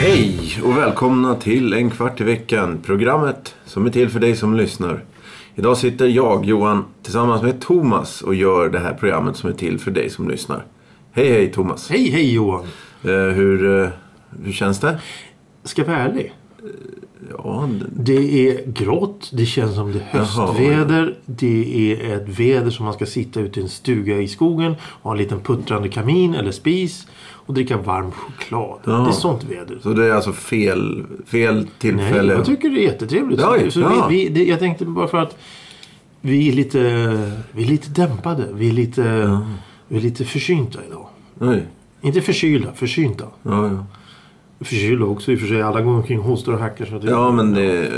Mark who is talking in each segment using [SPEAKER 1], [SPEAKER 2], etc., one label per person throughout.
[SPEAKER 1] Hej och välkomna till En kvart i veckan, programmet som är till för dig som lyssnar. Idag sitter jag, Johan, tillsammans med Thomas och gör det här programmet som är till för dig som lyssnar. Hej, hej Thomas.
[SPEAKER 2] Hej, hej Johan.
[SPEAKER 1] Eh, hur, eh, hur känns det?
[SPEAKER 2] Ska jag vara ärlig?
[SPEAKER 1] Ja, d-
[SPEAKER 2] Det är grått, det känns som det är höstväder. Det är ett väder som man ska sitta ute i en stuga i skogen och ha en liten puttrande kamin eller spis och dricka varm choklad. Det är sånt väder.
[SPEAKER 1] så det är alltså fel, fel
[SPEAKER 2] Nej,
[SPEAKER 1] tillfälle?
[SPEAKER 2] jag tycker det är jättetrevligt.
[SPEAKER 1] Oj,
[SPEAKER 2] så
[SPEAKER 1] ja.
[SPEAKER 2] vi, vi, det, jag tänkte bara för att vi är lite, vi är lite dämpade. Vi är lite, vi är lite försynta idag.
[SPEAKER 1] Oj,
[SPEAKER 2] Inte förkylda, försynta.
[SPEAKER 1] ja, ja.
[SPEAKER 2] Förkylda också i och för sig. Alla går omkring och hostar och hackar. Så det,
[SPEAKER 1] ja, men det,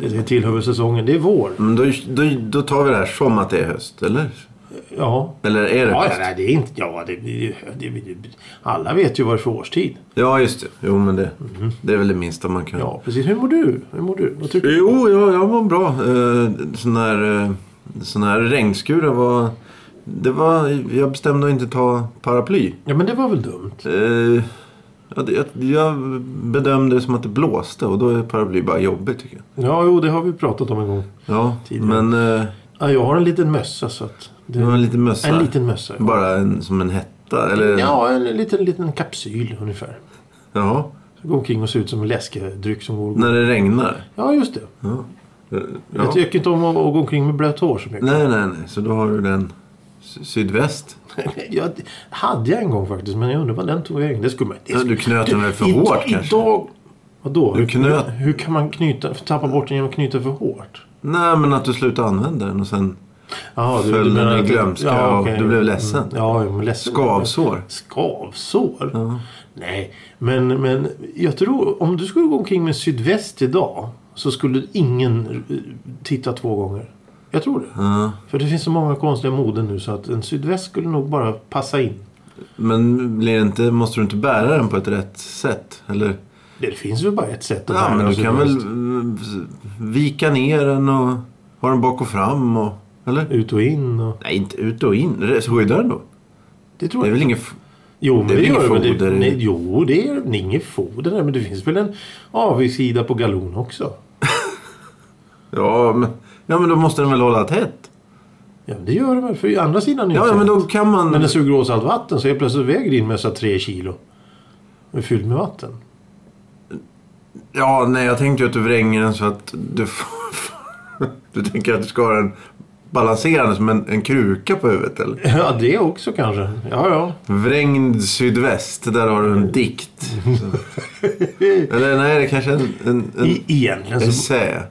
[SPEAKER 2] det tillhör väl säsongen. Det är vår.
[SPEAKER 1] men då, då, då tar vi det här som att det är höst, eller?
[SPEAKER 2] Ja.
[SPEAKER 1] Eller är det
[SPEAKER 2] Ja, ja,
[SPEAKER 1] höst?
[SPEAKER 2] nej, det är inte... Ja, det, det, det, det, alla vet ju vad det är för årstid.
[SPEAKER 1] Ja, just det. Jo, men det, det är väl det minsta man kan
[SPEAKER 2] Ja, precis. Hur mår du? Hur mår du? Vad tycker du?
[SPEAKER 1] Jo, jag, jag mår bra. Eh, Sån här, eh, sån här regnskurar var... Det var... Jag bestämde att inte ta paraply.
[SPEAKER 2] Ja, men det var väl dumt.
[SPEAKER 1] Eh, ja, det- Jag, jag bedömde det som att det blåste och då är paraply bara jobbigt tycker jag.
[SPEAKER 2] Ja, jo, det har vi pratat om en gång.
[SPEAKER 1] Ja,
[SPEAKER 2] Tidigare.
[SPEAKER 1] men eh,
[SPEAKER 2] Ja, jag har en liten mössa så att... Det,
[SPEAKER 1] det var en liten mössa.
[SPEAKER 2] en liten mössa. Mm. ja.
[SPEAKER 1] Bara en, som en hetta? Eller?
[SPEAKER 2] Ja, en liten, liten kapsyl ungefär.
[SPEAKER 1] Jaha.
[SPEAKER 2] Så går omkring och ser ut som en läskedryck som går...
[SPEAKER 1] När det regnar?
[SPEAKER 2] Ja, just det.
[SPEAKER 1] Eh,
[SPEAKER 2] Jag
[SPEAKER 1] Ja.
[SPEAKER 2] tycker inte om att, att gå omkring med blött hår så mycket.
[SPEAKER 1] Nej, nej, nej. Så då har du den sy- sydväst.
[SPEAKER 2] Jag hade jag en gång faktiskt, men jag undrar vad den tog vägen. Det skulle man det
[SPEAKER 1] Ja,
[SPEAKER 2] skulle-
[SPEAKER 1] du knöt den väl för
[SPEAKER 2] idag-
[SPEAKER 1] hårt, kanske?
[SPEAKER 2] Idag... Vadå?
[SPEAKER 1] Du
[SPEAKER 2] Hur-
[SPEAKER 1] knöt-
[SPEAKER 2] Hur kan man knyta, tappa bort den genom att knyta för hårt?
[SPEAKER 1] Nej, men att du slutar använda den och sen
[SPEAKER 2] Jaha,
[SPEAKER 1] Föll den i
[SPEAKER 2] att-
[SPEAKER 1] glömska och
[SPEAKER 2] okej.
[SPEAKER 1] du blev ledsen.
[SPEAKER 2] Mm, ja, men ledsen.
[SPEAKER 1] skavsår.
[SPEAKER 2] Skavsår? Nej, men, men jag tror om du skulle gå omkring med sydväst idag så skulle ingen eh, titta två gånger. Jag tror det.
[SPEAKER 1] Ja.
[SPEAKER 2] För det finns så många konstiga moden nu så att en sydväst skulle nog bara passa in.
[SPEAKER 1] Men blir det inte, måste du inte bära den på ett rätt sätt? Eller?
[SPEAKER 2] Det finns väl bara ett sätt att
[SPEAKER 1] Ja,
[SPEAKER 2] bära
[SPEAKER 1] men du kan väl
[SPEAKER 2] sydväst.
[SPEAKER 1] mm, vika ner den och ha den bak och fram? Och, eller?
[SPEAKER 2] Ut och in och...
[SPEAKER 1] Nej, inte ut och in. Re- Skydda den då.
[SPEAKER 2] Det tror
[SPEAKER 1] Det är
[SPEAKER 2] jag.
[SPEAKER 1] väl inget...
[SPEAKER 2] Jo, men
[SPEAKER 1] det är
[SPEAKER 2] det,
[SPEAKER 1] väl
[SPEAKER 2] gör
[SPEAKER 1] inget
[SPEAKER 2] det, men
[SPEAKER 1] foder
[SPEAKER 2] det.
[SPEAKER 1] i-
[SPEAKER 2] Nej, jo, det är det är inget foder där, men det finns väl en avigsida på galon också.
[SPEAKER 1] Ja men, ja, men då måste den väl hålla tätt?
[SPEAKER 2] Ja, men det gör det väl. För i andra sidan är det
[SPEAKER 1] Ja,
[SPEAKER 2] inte
[SPEAKER 1] ja men då
[SPEAKER 2] sant.
[SPEAKER 1] kan man...
[SPEAKER 2] Men den suger åt sig allt vatten så helt plötsligt väger din mössa tre kilo. Den är fylld med vatten.
[SPEAKER 1] Ja, nej, jag tänkte ju att du vränger den så att du får... du tänker att du ska ha den balanserande som en, en kruka på huvudet, eller?
[SPEAKER 2] Ja, det också kanske. Ja, ja.
[SPEAKER 1] Vrängd sydväst, där har du en dikt. Så. Eller nej, det kanske är en, en, en
[SPEAKER 2] I, egentligen så...
[SPEAKER 1] essä.
[SPEAKER 2] Ä-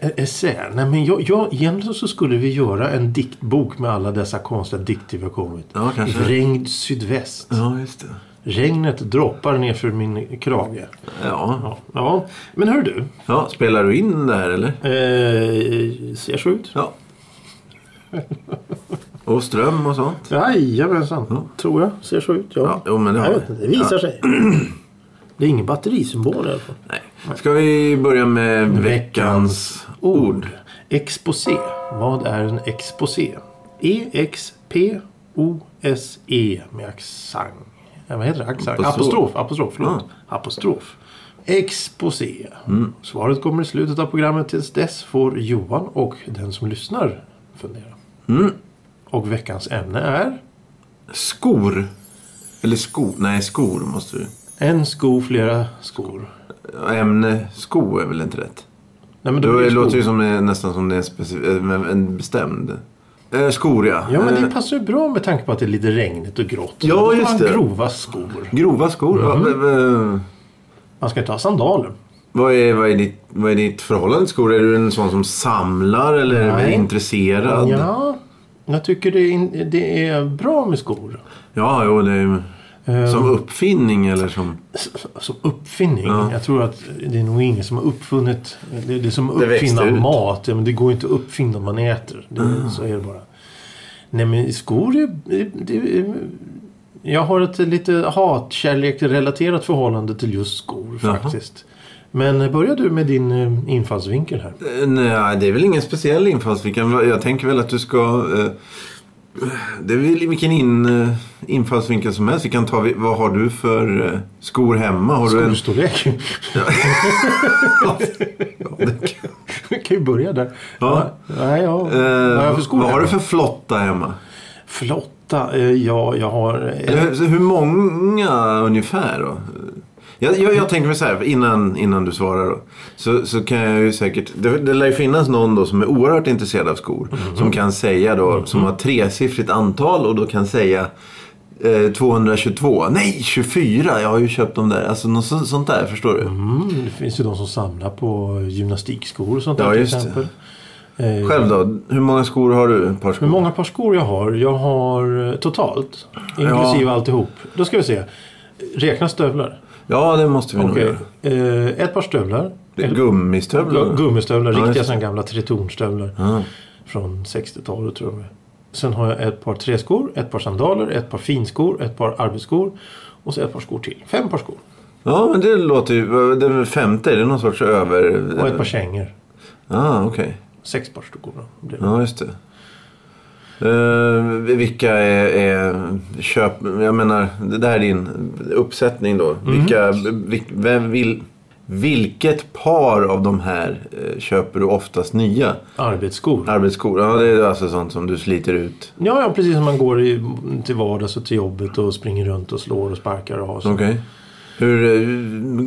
[SPEAKER 2] ä- Essä? Nej, men jag, jag, egentligen så skulle vi göra en diktbok med alla dessa konstiga dikter vi har kommit.
[SPEAKER 1] Ja, kanske.
[SPEAKER 2] Vrängd sydväst.
[SPEAKER 1] Ja, just det.
[SPEAKER 2] Regnet droppar ner för min krage.
[SPEAKER 1] Ja.
[SPEAKER 2] Ja, ja. men hör du.
[SPEAKER 1] ja, spelar du in det här eller?
[SPEAKER 2] Eh, ser så ut?
[SPEAKER 1] Ja. Och ström och sånt.
[SPEAKER 2] Jajamensan, tror jag. Ser så ut. Ja,
[SPEAKER 1] Mm. Ja, jo, men det har
[SPEAKER 2] jag
[SPEAKER 1] det.
[SPEAKER 2] vet inte, det visar
[SPEAKER 1] Ja.
[SPEAKER 2] sig. Det är ingen batterisymbol i alla fall.
[SPEAKER 1] Nej. Ska vi börja med veckans ord?
[SPEAKER 2] Exposé. Vad är en exposé? E E-X-P-O-S-E E med accent. Ja, vad heter det? Accent.
[SPEAKER 1] Apostrof. Ah.
[SPEAKER 2] Apostrof. Apostrof. Förlåt. Apostrof. Exposé.
[SPEAKER 1] Mm.
[SPEAKER 2] Svaret kommer i slutet av programmet. Tills dess får Johan och den som lyssnar fundera.
[SPEAKER 1] Mm.
[SPEAKER 2] Och veckans ämne är
[SPEAKER 1] Skor. Eller skor. Nej, skor måste du.
[SPEAKER 2] en sko, flera skor.
[SPEAKER 1] Ämne sko är väl inte rätt?
[SPEAKER 2] Nej, men då
[SPEAKER 1] Då
[SPEAKER 2] blir
[SPEAKER 1] det
[SPEAKER 2] det
[SPEAKER 1] låter
[SPEAKER 2] skor.
[SPEAKER 1] ju som det, är- nästan som det är en, specif- en- en bestämd. Eh, skor ja.
[SPEAKER 2] Ja, men
[SPEAKER 1] Eh,
[SPEAKER 2] det passar ju bra med tanke på att det är lite regnigt och grått.
[SPEAKER 1] Ja,
[SPEAKER 2] Då får
[SPEAKER 1] just
[SPEAKER 2] man
[SPEAKER 1] det.
[SPEAKER 2] grova skor.
[SPEAKER 1] Grova skor. Ja,
[SPEAKER 2] Mhm.
[SPEAKER 1] v- v-
[SPEAKER 2] Man ska inte ha sandaler.
[SPEAKER 1] Vad är, vad, är ditt, vad är ditt förhållande till skor? Är du en sån som samlar eller är du
[SPEAKER 2] Nej.
[SPEAKER 1] intresserad?
[SPEAKER 2] Ja, jag tycker det är, in- det är bra med skor.
[SPEAKER 1] ja jo, det är ju
[SPEAKER 2] Eh.
[SPEAKER 1] som uppfinning eller som...
[SPEAKER 2] S- Som uppfinning. Jag tror att det är nog ingen som har uppfunnit... Det, det är som att
[SPEAKER 1] Det växte
[SPEAKER 2] uppfinna
[SPEAKER 1] ut. Mm.
[SPEAKER 2] mat. Ja, men det går inte att uppfinna om man äter. Det, Så är det bara. Nej men skor är, det är Jag har ett lite hatkärlek-relaterat förhållande till just skor
[SPEAKER 1] Jaha.
[SPEAKER 2] faktiskt. Men börjar du med din eh, infallsvinkel här.
[SPEAKER 1] Eh, Nej, det är väl ingen speciell infallsvinkel. Jag tänker väl att du ska... eh, Det är väl vilken in, eh, infallsvinkel som helst. Vi kan ta, vi- vad har du för eh, skor hemma? Har du en...
[SPEAKER 2] Skostorlek.
[SPEAKER 1] Ja, det kan-
[SPEAKER 2] Vi kan ju börja där.
[SPEAKER 1] Ja.
[SPEAKER 2] Nej, ja. Vad
[SPEAKER 1] Eh,
[SPEAKER 2] har jag för skor?
[SPEAKER 1] Vad har du
[SPEAKER 2] hemma?
[SPEAKER 1] för flotta hemma?
[SPEAKER 2] Flotta. eh, Ja, jag har... eh,
[SPEAKER 1] Eller, hur- hur många ungefär då? Jag, jag, jag tänker mig så här, innan, innan du svarar då. Så, så kan jag ju säkert... Det, det lär ju finnas någon då som är oerhört intresserad av skor.
[SPEAKER 2] Mm.
[SPEAKER 1] Som kan säga då, som har tresiffrigt antal och då kan säga eh, 222. Nej, 24! Jag har ju köpt dem där. Alltså något sånt, sånt där, förstår du?
[SPEAKER 2] Mm, det finns ju de som samlar på gymnastikskor och sånt där
[SPEAKER 1] Ja,
[SPEAKER 2] till
[SPEAKER 1] just det.
[SPEAKER 2] exempel. Eh,
[SPEAKER 1] Själv då? Hur många skor har du? Ett par skor?
[SPEAKER 2] Hur många par skor jag har? Jag har eh, totalt, inklusive alltihop. Då ska vi se. Räkna stövlar.
[SPEAKER 1] Ja, det måste vi nog
[SPEAKER 2] Okej.
[SPEAKER 1] göra.
[SPEAKER 2] Eh, ett par stövlar.
[SPEAKER 1] Det är Gummistövlar?
[SPEAKER 2] Gu- Gummistövlar,
[SPEAKER 1] Ja,
[SPEAKER 2] riktiga
[SPEAKER 1] just
[SPEAKER 2] sådana gamla Tretornstövlar.
[SPEAKER 1] Ja.
[SPEAKER 2] Från 60-talet tror jag. de är. Sen har jag ett par träskor, ett par sandaler, ett par finskor, ett par arbetsskor och så ett par skor till. Fem par skor.
[SPEAKER 1] Ja, men det låter ju... Den femte, är det någon sorts över...
[SPEAKER 2] Och ett par kängor.
[SPEAKER 1] Ah, okej.
[SPEAKER 2] Sex par skor. då blir det.
[SPEAKER 1] Ja, just det. Eh, vilka är, är köp... Jag menar, det där är din uppsättning då.
[SPEAKER 2] Mm.
[SPEAKER 1] Vilka, vil, vem vill, vilket par av de här eh, köper du oftast nya?
[SPEAKER 2] Arbetsskor.
[SPEAKER 1] Arbetsskor? Ja, det är alltså sånt som du sliter ut.
[SPEAKER 2] Ja, ja, precis som man går i, till vardags och till jobbet och springer runt och slår och sparkar och har så.
[SPEAKER 1] Okej. Hur, eh,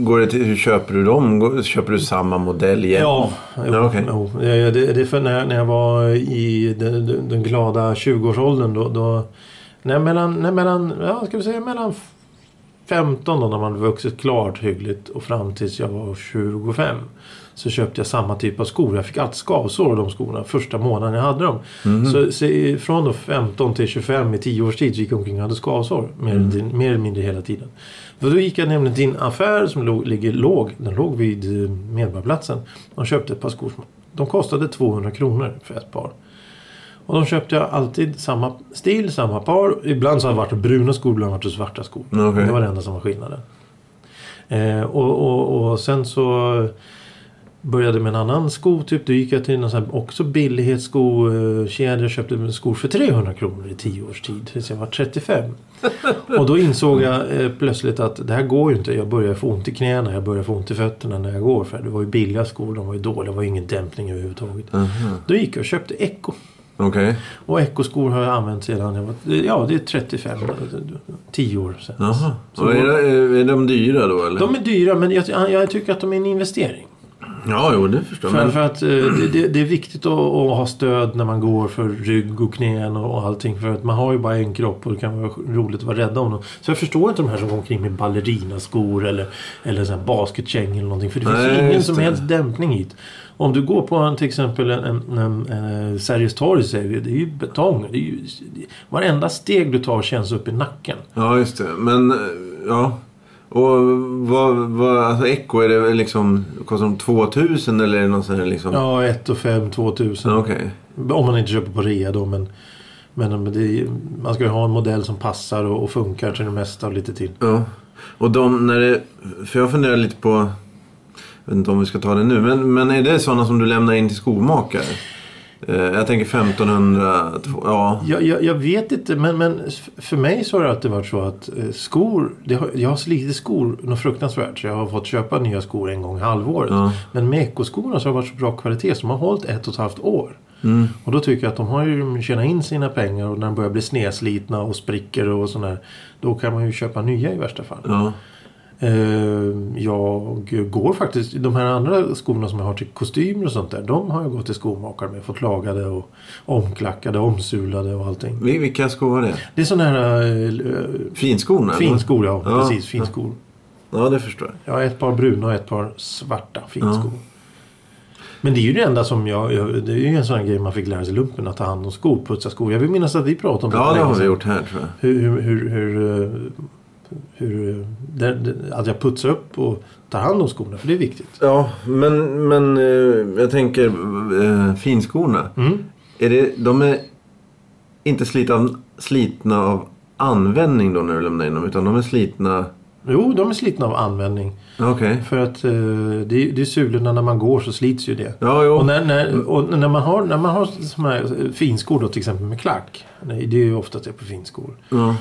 [SPEAKER 1] går det till, hur köper du dem? Går, köper du samma modell igen?
[SPEAKER 2] Ja, jo,
[SPEAKER 1] Ja, okej.
[SPEAKER 2] jo. Det, det det är för när, jag- när jag var i den, den- den glada 20-årsåldern då... då nej, mellan, nej, mellan, ja, ska vi säga mellan f- 15 då när man vuxit klart hyggligt och fram tills jag var 25. Så köpte jag samma typ av skor. Jag fick alltid skavsår av de skorna första månaden jag hade dem. Så, så i- från då 15 till 25 i 10 års tid så gick jag omkring och hade skavsår. Mer, eller din- mer eller mindre hela tiden. För då gick jag nämligen till en affär som låg, ligger låg. Den låg vid eh, Medborgarplatsen. De köpte ett par skor. som- De kostade 200 kronor för ett par. Och de köpte jag alltid samma stil, samma par. Ibland så har det varit bruna skor, ibland har det varit svarta skor.
[SPEAKER 1] Okej.
[SPEAKER 2] Det var det enda som var skillnaden. Eh, och, och, och sen så började med en annan skotyp. Då gick jag till en sån här också billighetsskokedja. Jag köpte skor för 300 kronor i 10 års tid. Tills jag var 35. Och då insåg jag eh, plötsligt att det här går ju inte. Jag börjar få ont i knäna, jag börjar få ont i fötterna när jag går. För det var ju billiga skor, de var ju dåliga. Det var ju ingen dämpning överhuvudtaget. Då gick jag och köpte Echo.
[SPEAKER 1] Okej.
[SPEAKER 2] Och Echo-skor har jag använt sedan jag var... Ja, det är 35, 10 år sedan.
[SPEAKER 1] Jaha.
[SPEAKER 2] Så-
[SPEAKER 1] Och är, det- är de dyra då eller?
[SPEAKER 2] De är dyra men jag, jag tycker att de är en investering.
[SPEAKER 1] Ja, jo det förstår jag.
[SPEAKER 2] För,
[SPEAKER 1] Men-
[SPEAKER 2] för att eh, det, det, det är viktigt att, att ha stöd när man går för rygg och knän och, och allting. För att man har ju bara en kropp och det kan vara roligt att vara rädda om dem. Så jag förstår inte de här som går omkring med ballerinaskor eller, eller sån här basketkängor eller någonting. För det finns
[SPEAKER 1] Nej,
[SPEAKER 2] ju ingen
[SPEAKER 1] just
[SPEAKER 2] som
[SPEAKER 1] det.
[SPEAKER 2] helst dämpning hit. Om du går på en, till exempel en, en, en, eh, Sergels torg säger vi, det är ju betong. Det är ju, varenda steg du tar känns upp i nacken.
[SPEAKER 1] Ja, just det. Men, eh, ja. Och vad, vad, alltså Echo, är det väl liksom, kostar de 2000 eller är det någon sån här liksom?
[SPEAKER 2] Ja, 1 och 5, 2000.
[SPEAKER 1] Ja, Okej.
[SPEAKER 2] Om man inte köper på rea då men men det, är- man ska ju ha en modell som passar och, och funkar till det mesta och lite till.
[SPEAKER 1] Ja. Och de, när det, för jag funderar lite på, jag vet inte om vi ska ta det nu, men, men är det sådana som du lämnar in till skomakare? Eh, jag tänker 1500, två- ja.
[SPEAKER 2] Jag, jag, jag vet inte men, men f- för mig så har det alltid varit så att eh, skor, det har, jag har slitit skor något fruktansvärt så jag har fått köpa nya skor en gång i halvåret.
[SPEAKER 1] Ja.
[SPEAKER 2] Men med ekoskorna så har det varit så bra kvalitet som har hållit ett och ett halvt år. Och då tycker jag att de har ju tjänat in sina pengar och när de börjar bli snedslitna och spricker och sådär. Då kan man ju köpa nya i värsta fall.
[SPEAKER 1] ja.
[SPEAKER 2] Eh, Jag går faktiskt, de här andra skorna som jag har till kostymer och sånt där. De har jag gått till skomakare med. Fått lagade och omklackade, omsulade och allting.
[SPEAKER 1] Vi- Vilka skor var det?
[SPEAKER 2] Det är sådana här äh,
[SPEAKER 1] Finskorna? eller?
[SPEAKER 2] finskor, ja.
[SPEAKER 1] Ja.
[SPEAKER 2] Precis, finskor.
[SPEAKER 1] Ja, det förstår jag.
[SPEAKER 2] Jag har ett par bruna och ett par svarta finskor. Men det är ju det enda som jag, jag... Det är ju en sån här grej man fick lära sig i lumpen. Att ta hand om skor, putsa skor. Jag vill minnas att vi pratade om det
[SPEAKER 1] Ja,
[SPEAKER 2] för
[SPEAKER 1] det
[SPEAKER 2] länge
[SPEAKER 1] har vi
[SPEAKER 2] sedan.
[SPEAKER 1] gjort här tror jag.
[SPEAKER 2] Hur, hur, hur, hur, eh, hur eh, där, där, att jag putsar upp och tar hand om skorna. För det är viktigt.
[SPEAKER 1] Ja, men, men eh, jag tänker eh, finskorna.
[SPEAKER 2] Mm.
[SPEAKER 1] Är det, de är inte slitna, slitna av användning då när du lämnar in dem utan de är slitna?
[SPEAKER 2] Jo, de är slitna av användning.
[SPEAKER 1] Okej.
[SPEAKER 2] För att eh, det, det är sulorna när man går så slits ju det.
[SPEAKER 1] Ja, jo.
[SPEAKER 2] Och när, när, och när man har, när man har såna här eh, finskor då, till exempel med klack. nej, Det är ju oftast det på finskor.
[SPEAKER 1] Ja.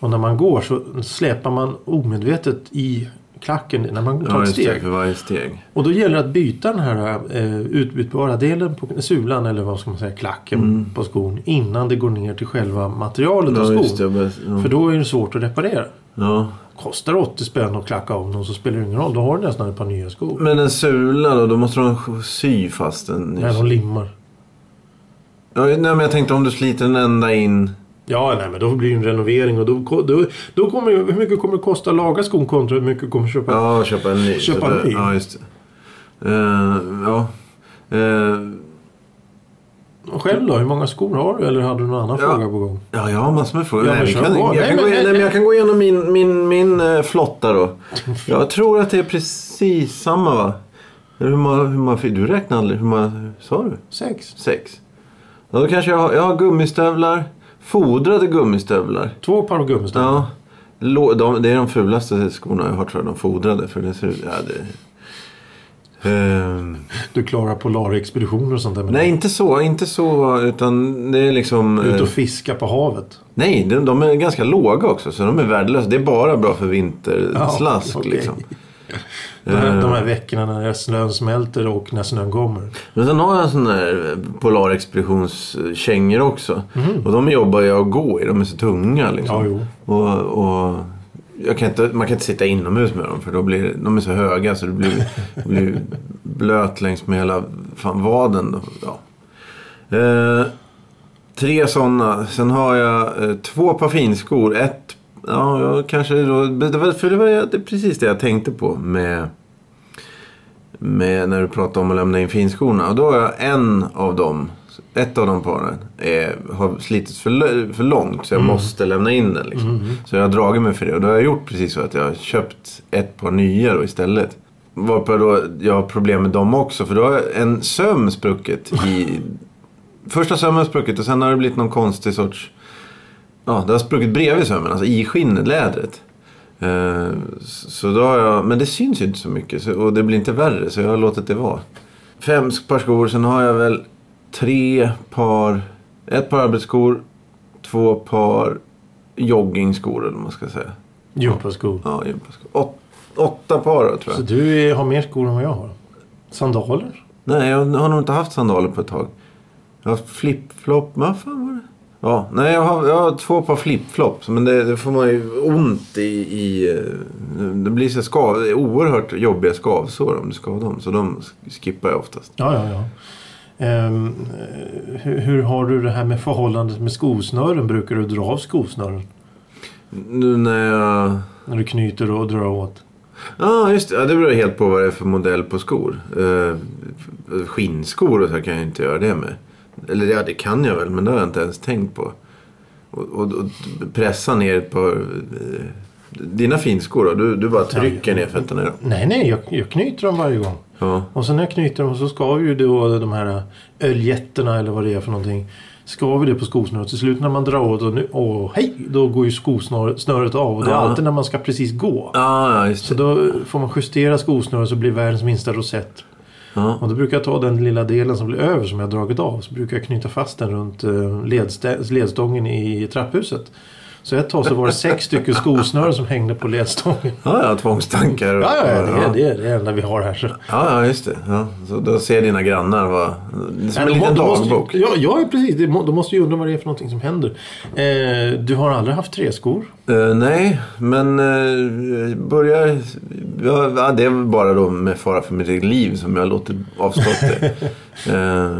[SPEAKER 2] Och när man går så släpar man omedvetet i klacken när man tar
[SPEAKER 1] Ja,
[SPEAKER 2] ett
[SPEAKER 1] just det.
[SPEAKER 2] steg.
[SPEAKER 1] För varje steg.
[SPEAKER 2] Och då gäller det att byta den här eh, utbytbara delen på sulan eller vad ska man säga, klacken på skon innan det går ner till själva materialet av
[SPEAKER 1] Mm. Ja, just det. Jag
[SPEAKER 2] skon.
[SPEAKER 1] börjar- Ja.
[SPEAKER 2] För då är det svårt att reparera.
[SPEAKER 1] Ja.
[SPEAKER 2] Kostar 80 spänn att klacka om dem så spelar det ingen roll. Då har du nästan ett par nya skor.
[SPEAKER 1] Men en sula då? Då måste de sy fast den.
[SPEAKER 2] Nej, de limmar.
[SPEAKER 1] Ja, nej, men jag tänkte om du sliter den ända in.
[SPEAKER 2] Ja, nej, men då blir det en renovering och då, ko- då, då kommer ju- hur mycket kommer det kosta att laga skon kontra hur mycket kommer det köpa?
[SPEAKER 1] Ja, köpa en ny.
[SPEAKER 2] Köpa
[SPEAKER 1] Så
[SPEAKER 2] en
[SPEAKER 1] det-
[SPEAKER 2] ny.
[SPEAKER 1] Ja, just det. Eh, ja. Eh,
[SPEAKER 2] Själv då? Hur många skor har du? Eller hade du någon annan
[SPEAKER 1] Ja.
[SPEAKER 2] fråga på gång?
[SPEAKER 1] ja, jag har massor med frågor.
[SPEAKER 2] Ja,
[SPEAKER 1] nej,
[SPEAKER 2] men
[SPEAKER 1] vi
[SPEAKER 2] kör
[SPEAKER 1] kan,
[SPEAKER 2] på.
[SPEAKER 1] jag,
[SPEAKER 2] Nej,
[SPEAKER 1] kan
[SPEAKER 2] men-
[SPEAKER 1] gå igen, nej,
[SPEAKER 2] nej,
[SPEAKER 1] men jag kan gå igenom min, min, min eh, flotta då. Jag tror att det är precis samma va? Eller Hur många, hur många, du räknade aldrig. Hur många hur sa du?
[SPEAKER 2] Sex.
[SPEAKER 1] Sex. Ja, Då kanske jag har, jag har gummistövlar. Fodrade gummistövlar.
[SPEAKER 2] Två par gummistövlar.
[SPEAKER 1] Ja. Lå- De, det är de fulaste skorna jag har tror jag. De fodrade. För det ser ut... Ja, det... Ehm,
[SPEAKER 2] Du klarar polarexpeditioner och sånt där. med
[SPEAKER 1] nej, inte så. Inte så. Utan det är liksom...
[SPEAKER 2] dem. Ut
[SPEAKER 1] eh,
[SPEAKER 2] och fiska på havet.
[SPEAKER 1] Nej, de, de är ganska låga också. Så de är värdelösa. Det är bara bra för vinterslask.
[SPEAKER 2] Ja, okej.
[SPEAKER 1] liksom.
[SPEAKER 2] De här, de här veckorna när snön smälter och när snön kommer.
[SPEAKER 1] Men sen har jag sådana här polarexpeditionskängor också. Och de jobbar jag att gå i. De är så tunga. Liksom.
[SPEAKER 2] Mhm. Ja, jo.
[SPEAKER 1] Och, och jag kan inte, man kan inte sitta inomhus med dem för då blir, de är så höga så det blir, det blir blöt längs med hela fan, vaden. Då. Ja. Eh, tre sådana. Sen har jag eh, två par finskor. Ett, ja, jag kanske då, det var, för det var det är precis det jag tänkte på med, med när du pratade om att lämna in finskorna. Och då har jag en av dem, ett av de paren, är, har slitits för, lö- för långt så jag måste lämna in den. Liksom. Så jag har dragit mig för det. Och då har jag gjort precis så att jag har köpt ett par nya då istället. Varpå jag då, jag har problem med dem också för då har jag en söm spruckit i Första sömmen har spruckit och sen har det blivit någon konstig sorts... Ja, det har spruckit bredvid sömmen, alltså i skinnet, lädret. Eh, s- Så då har jag, men det syns ju inte så mycket så, och det blir inte värre så jag har låtit det vara. Fem sk- par skor, sen har jag väl tre par... Ett par arbetsskor, två par joggingskor eller vad man ska säga.
[SPEAKER 2] Gympaskor.
[SPEAKER 1] Ja, gympaskor. Åt, åtta par då, tror
[SPEAKER 2] Så
[SPEAKER 1] jag.
[SPEAKER 2] du är, har mer skor än vad jag har. Sandaler?
[SPEAKER 1] Nej, jag har nog inte haft sandaler på ett tag. Jag har haft flip-flop. Vad fan var det? Ja, nej, jag har, jag har två par flip-flops. Men det, det får man ju ont i. i eh, det blir så skav, det är oerhört jobbiga skavsår om du skadar dem. Så de skippar jag oftast.
[SPEAKER 2] Ja, ja, ja. Ehm, eh, hur, hur har du det här med förhållandet med skosnören? Brukar du dra av skosnören?
[SPEAKER 1] Nu när jag...
[SPEAKER 2] När du knyter och drar åt?
[SPEAKER 1] Ja, just det. Ja, det beror helt på vad det är för modell på skor. Eh, skinnskor och så här kan jag inte göra det med. Eller ja, det kan jag väl, men det har jag inte ens tänkt på. Och, och, och pressa ner ett par... eh, dina finskor då? Du, du bara trycker ner fötterna i dem?
[SPEAKER 2] Nej, nej, jag, jag knyter dem varje gång.
[SPEAKER 1] Ja.
[SPEAKER 2] Och sen när jag knyter dem så ska vi ju då de här öljetterna eller vad det är för någonting. Ska vi det på skosnöret. Till slut när man drar åt och nu, åh, hej, då går ju skosnöret snöret av. Och det är
[SPEAKER 1] Ja.
[SPEAKER 2] alltid när man ska precis gå.
[SPEAKER 1] Ja, ja, just
[SPEAKER 2] Så
[SPEAKER 1] det.
[SPEAKER 2] då får man justera skosnöret så blir världens minsta rosett.
[SPEAKER 1] Ja.
[SPEAKER 2] Och då brukar jag ta den lilla delen som blir över som jag dragit av. Så brukar jag knyta fast den runt eh, ledstä- ledstången i trapphuset. Så ett tag så var det sex stycken skosnören som hängde på ledstången.
[SPEAKER 1] Ja, ja, tvångstankar. och-
[SPEAKER 2] Ja, ja, ja, det
[SPEAKER 1] ja.
[SPEAKER 2] är det, är det enda vi har här. Så.
[SPEAKER 1] Ja, ja, just det. Ja. Så då ser dina grannar vad... Det är som en
[SPEAKER 2] Nej,
[SPEAKER 1] liten
[SPEAKER 2] de må- de måste ju-
[SPEAKER 1] dagbok.
[SPEAKER 2] Ja, ja, precis. De må- de måste ju undra vad det är för någonting som händer. Eh, du har aldrig haft träskor?
[SPEAKER 1] Eh, nej, men uh, börjar... Ja, ja, det är väl bara då med fara för mitt eget liv som jag låter avstått det. Eh,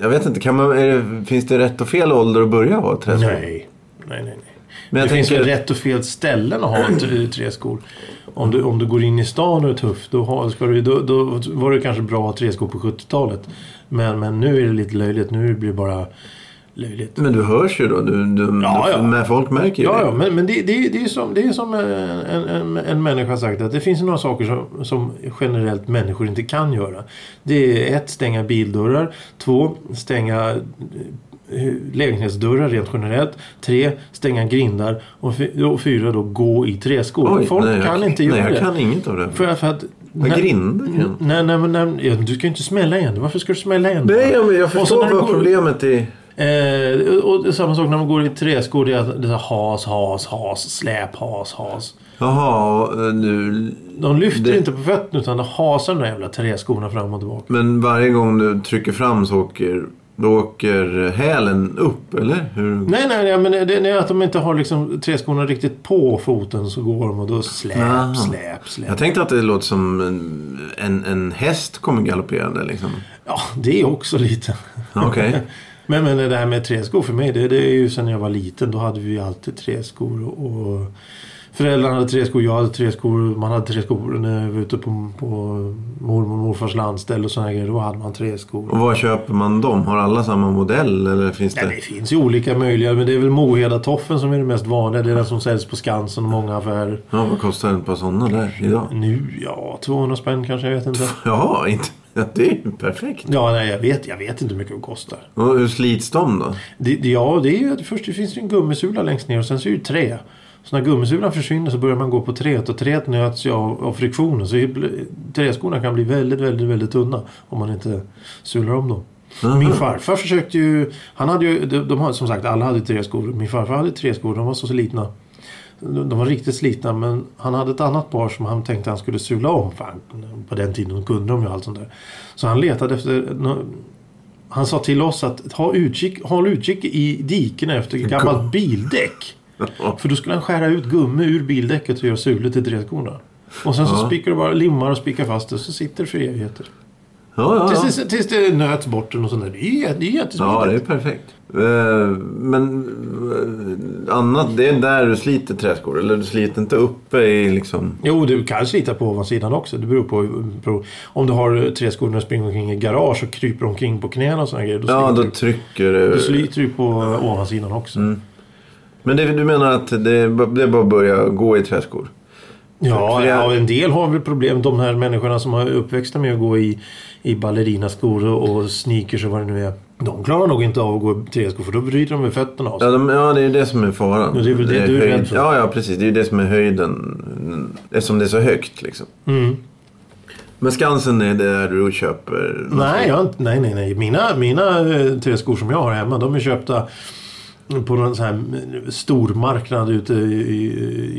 [SPEAKER 1] jag vet inte, kan man, är det, finns det rätt och fel ålder att börja ha träskor?
[SPEAKER 2] Nej. nej, nej, nej.
[SPEAKER 1] Men jag
[SPEAKER 2] det finns
[SPEAKER 1] tänker-
[SPEAKER 2] väl rätt och fel ställen att ha t- träskor. Om du, om du går in i stan och är tuff, då, har, ska du, då, då var det kanske bra att ha träskor på 70-talet. Men, men nu är det lite löjligt. Nu blir det bara löjligt.
[SPEAKER 1] Men du hörs ju då. Du, du,
[SPEAKER 2] Ja, ja.
[SPEAKER 1] Men folk märker ju
[SPEAKER 2] Ja,
[SPEAKER 1] det.
[SPEAKER 2] ja men, men det, det, det är som, det är som en, en, en människa sagt att det finns några saker som, som generellt människor inte kan göra. Det är ett, stänga bildörrar. Två, stänga hu- eh, lägenhetsdörrar rent generellt. Tre, stänga grindar. Och, fy- och fyra då, gå i träskor. Folk
[SPEAKER 1] nej, jag-
[SPEAKER 2] kan inte göra
[SPEAKER 1] Nej, jag
[SPEAKER 2] det.
[SPEAKER 1] kan inget av det.
[SPEAKER 2] För, att- för att...
[SPEAKER 1] Jag grindar igen.
[SPEAKER 2] Nej, nej, men nej, ja, du ska ju inte smälla igen. Varför ska du smälla igen?
[SPEAKER 1] Nej, men jag
[SPEAKER 2] Och så
[SPEAKER 1] förstår
[SPEAKER 2] när du
[SPEAKER 1] vad
[SPEAKER 2] går-
[SPEAKER 1] problemet är.
[SPEAKER 2] Eh, och och samma sak när man går i träskor. Det är, att- det är has, has, has, släp, has, has.
[SPEAKER 1] Jaha, och, eh, nu...
[SPEAKER 2] De lyfter
[SPEAKER 1] Det-
[SPEAKER 2] inte på fötterna utan de hasar de där jävla träskorna fram och tillbaka.
[SPEAKER 1] Men varje gång du trycker fram så åker, då åker hälen upp, eller? Hur?
[SPEAKER 2] Nej, nej, nej, men det det är att de inte har liksom träskorna riktigt på foten så går de och då släp,
[SPEAKER 1] Aha.
[SPEAKER 2] släp, släp.
[SPEAKER 1] Jag tänkte att det låter som en, en, en häst kommer galopperande liksom.
[SPEAKER 2] Ja, det är också lite.
[SPEAKER 1] Ja, Okej.
[SPEAKER 2] Men, men det här med träskor för mig, det, det är ju sen jag var liten. Då hade vi ju alltid träskor. Och, och föräldrarna hade träskor, jag hade träskor. Man hade träskor när jag var ute på, på mormor och morfars landställe och sådana grejer. Då hade man träskor.
[SPEAKER 1] Och var köper man dem? Har alla samma modell eller finns
[SPEAKER 2] Ja,
[SPEAKER 1] det?
[SPEAKER 2] det finns ju olika möjliga, men det är väl Moheda-toffen som är det mest vanliga. Det är den som säljs på Skansen och många affärer.
[SPEAKER 1] Ja, vad kostar ett par sådana där idag?
[SPEAKER 2] Nu, ja, 200 spänn kanske, jag vet inte.
[SPEAKER 1] Jaha, inte... ja, det är ju perfekt.
[SPEAKER 2] Ja, nej, jag vet, jag vet inte hur mycket de kostar.
[SPEAKER 1] Och hur slits de då?
[SPEAKER 2] Det, det- ja, det är ju att först det finns ju en gummisula längst ner och sen så är det ju trä. Så när gummisulan försvinner så börjar man gå på träet och träet nöts ju av, av friktionen. Så det blir- träskorna kan bli väldigt, väldigt, väldigt tunna om man inte sular om dem.
[SPEAKER 1] Jaha.
[SPEAKER 2] Min farfar försökte ju... Han hade ju de, de har, som sagt, alla hade träskor. Min farfar hade träskor, de var så slitna. De de var riktigt slitna men han hade ett annat par som han tänkte han skulle sula om. För han, på den tiden kunde de ju allt sånt där. Så han letade efter... nå- Han sa till oss att ha utkik, håll utkik i dikena efter gammalt bildäck. För då skulle han skära ut gummi ur bildäcket och göra sulor till träskorna. Och sen så
[SPEAKER 1] Ja.
[SPEAKER 2] spikar du bara limmar och spikar fast det så sitter det för evigheter.
[SPEAKER 1] Ja, ja, ja.
[SPEAKER 2] Tills, det- tills det nöts bort och sånt där. Det är ju jät- det är jättesmidigt.
[SPEAKER 1] ja det är perfekt. Eh, Men eh, annat, det är där du sliter träskor? Eller du sliter inte uppe i liksom...
[SPEAKER 2] Jo, du kan slita på ovansidan också. Det beror på, på om du har träskor när du springer omkring i garage och kryper omkring på knäna och såna grejer. Då sliter
[SPEAKER 1] Ja, då
[SPEAKER 2] du,
[SPEAKER 1] trycker
[SPEAKER 2] då
[SPEAKER 1] du.
[SPEAKER 2] sliter du på ovansidan också.
[SPEAKER 1] Men det, du menar att det, det är bara att börja gå i träskor?
[SPEAKER 2] Ja,
[SPEAKER 1] För jag-
[SPEAKER 2] ja, en del har väl problem. De här människorna som har uppväxta med att gå i, i ballerinaskor och sneakers och vad det nu är. De klarar nog inte av att gå i träskor för då bryter de med fötterna av sig.
[SPEAKER 1] Ja, de, ja, det är ju det som är faran.
[SPEAKER 2] Men det är väl det du är
[SPEAKER 1] höjd-
[SPEAKER 2] rädd för.
[SPEAKER 1] Ja, ja, precis. Det är ju det som är höjden. Eftersom det är så högt liksom.
[SPEAKER 2] Mm.
[SPEAKER 1] Men Skansen är där du köper...
[SPEAKER 2] Nej, jag, har inte- nej, nej, nej. Mina, mina eh, träskor som jag har hemma, de är köpta på någon sån här eh, stormarknad ute i,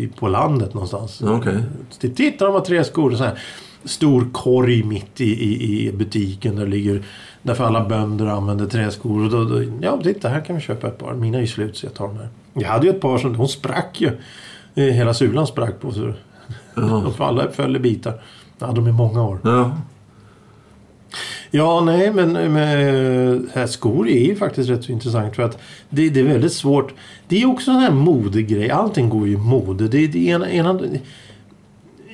[SPEAKER 2] i, på landet någonstans.
[SPEAKER 1] Okej.
[SPEAKER 2] Så Titta, de har träskor. och Så här stor korg mitt i, i, i butiken där det ligger därför alla bönder använder träskor. Och då, då, ja, titta, här kan vi köpa ett par. Mina är ju slut så jag tar de här. Jag hade ju ett par som... Hon sprack ju. Eh, Hela sulan sprack på sig. De alla föll i bitar. Jag hade dem i många år.
[SPEAKER 1] Ja.
[SPEAKER 2] Ja, nej, men, men här skor är ju faktiskt rätt så intressant för att det, det är väldigt svårt. Det är också en här modegrej. Allting går ju i mode. Det, det ena, ena,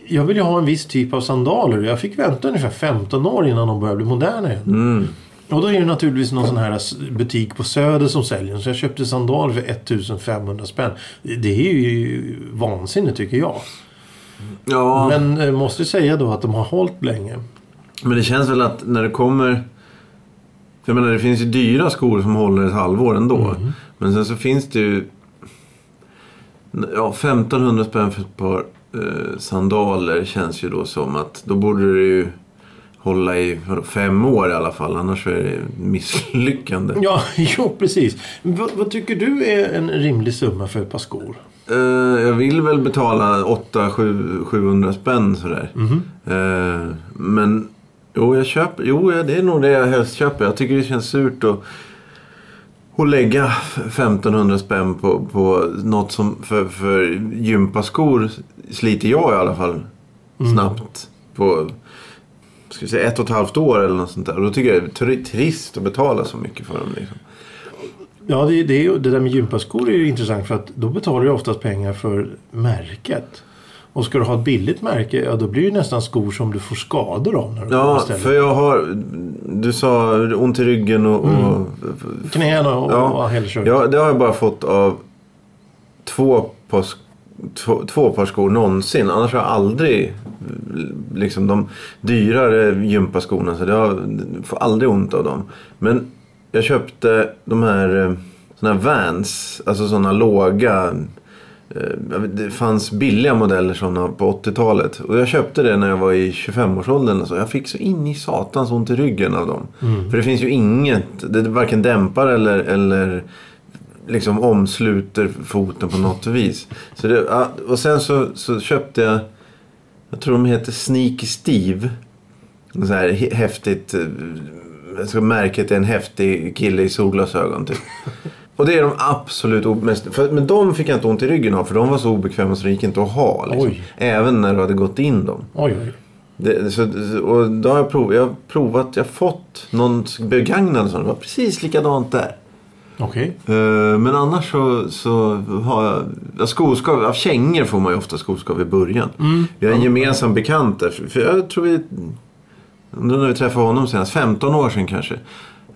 [SPEAKER 2] jag vill ju ha en viss typ av sandaler. Jag fick vänta ungefär 15 år innan de började bli moderna igen.
[SPEAKER 1] Mm.
[SPEAKER 2] Och då är det naturligtvis någon sån här s- butik på Söder som säljer dem. Så jag köpte sandaler för 1500 spänn. Det är ju vansinne tycker jag.
[SPEAKER 1] Ja, men...
[SPEAKER 2] Men eh, måste säga då att de har hållit länge.
[SPEAKER 1] det känns väl att när det kommer... För jag menar, det finns ju dyra skor som håller ett halvår ändå. Men sen så finns det ju... Ja, 1500 spänn för ett par eh, sandaler känns ju då som att då borde det ju hålla i vadå, fem år i alla fall. Annars så är det misslyckande.
[SPEAKER 2] Ja, jo, precis. Vad, vad tycker du är en rimlig summa för ett par skor?
[SPEAKER 1] Eh, jag vill väl betala 800-700 spänn sådär. Eh, men jo, jag köper, jo, ja, det är nog det jag helst köper. Jag tycker det känns surt att, att lägga 1500 spänn på, på något som för, för gympaskor sliter jag i alla fall snabbt. På ska vi säga, ett och ett halvt år eller något sånt där. Och då tycker jag det är tri- trist att betala så mycket för dem. Liksom.
[SPEAKER 2] Ja, det, det, är ju- det där med gympaskor är ju intressant för att då betalar du oftast pengar för märket. Och ska du ha ett billigt märke, ja då blir det ju nästan skor som du får skador av när du
[SPEAKER 1] Ja,
[SPEAKER 2] beställer.
[SPEAKER 1] för jag har... Du sa ont i ryggen och... och
[SPEAKER 2] Mm. Knäna och,
[SPEAKER 1] Ja.
[SPEAKER 2] och hela köret.
[SPEAKER 1] ja, det har jag bara fått av två par, sk- två, två par skor någonsin. Annars har jag aldrig... Liksom de dyrare gympaskorna. Så det har, jag får aldrig ont av dem. Men Jag köpte de här eh, såna här Vans, alltså såna låga. eh, jag vet, Det fanns billiga modeller såna på 80-talet. Och jag köpte det när jag var i 25-årsåldern. och så. Jag fick så in i satans ont i ryggen av dem. För det finns ju inget, det varken dämpar eller, eller liksom omsluter foten på något vis. Så det, ja, och sen så, så köpte jag, jag tror de heter Sneaky Steve. En Så här he- häftigt, eh, alltså märket är en häftig kille i solglasögon typ. Och det är de absolut o- mest, för, men de fick jag inte ont i ryggen av för de var så obekväma så det gick inte att ha. Liksom.
[SPEAKER 2] Oj.
[SPEAKER 1] Även när du hade gått in dem.
[SPEAKER 2] Oj, oj.
[SPEAKER 1] Det, så, och då har jag, prov, jag har provat, jag har fått någon begagnad som var precis likadant där.
[SPEAKER 2] Okej.
[SPEAKER 1] Eh, Men annars så, så har jag ja, skoskav. Av kängor får man ju ofta skoskav i början.
[SPEAKER 2] Mm.
[SPEAKER 1] Vi har en gemensam bekant där. För jag tror vi... Undrar när vi träffade honom senast. 15 år sedan kanske.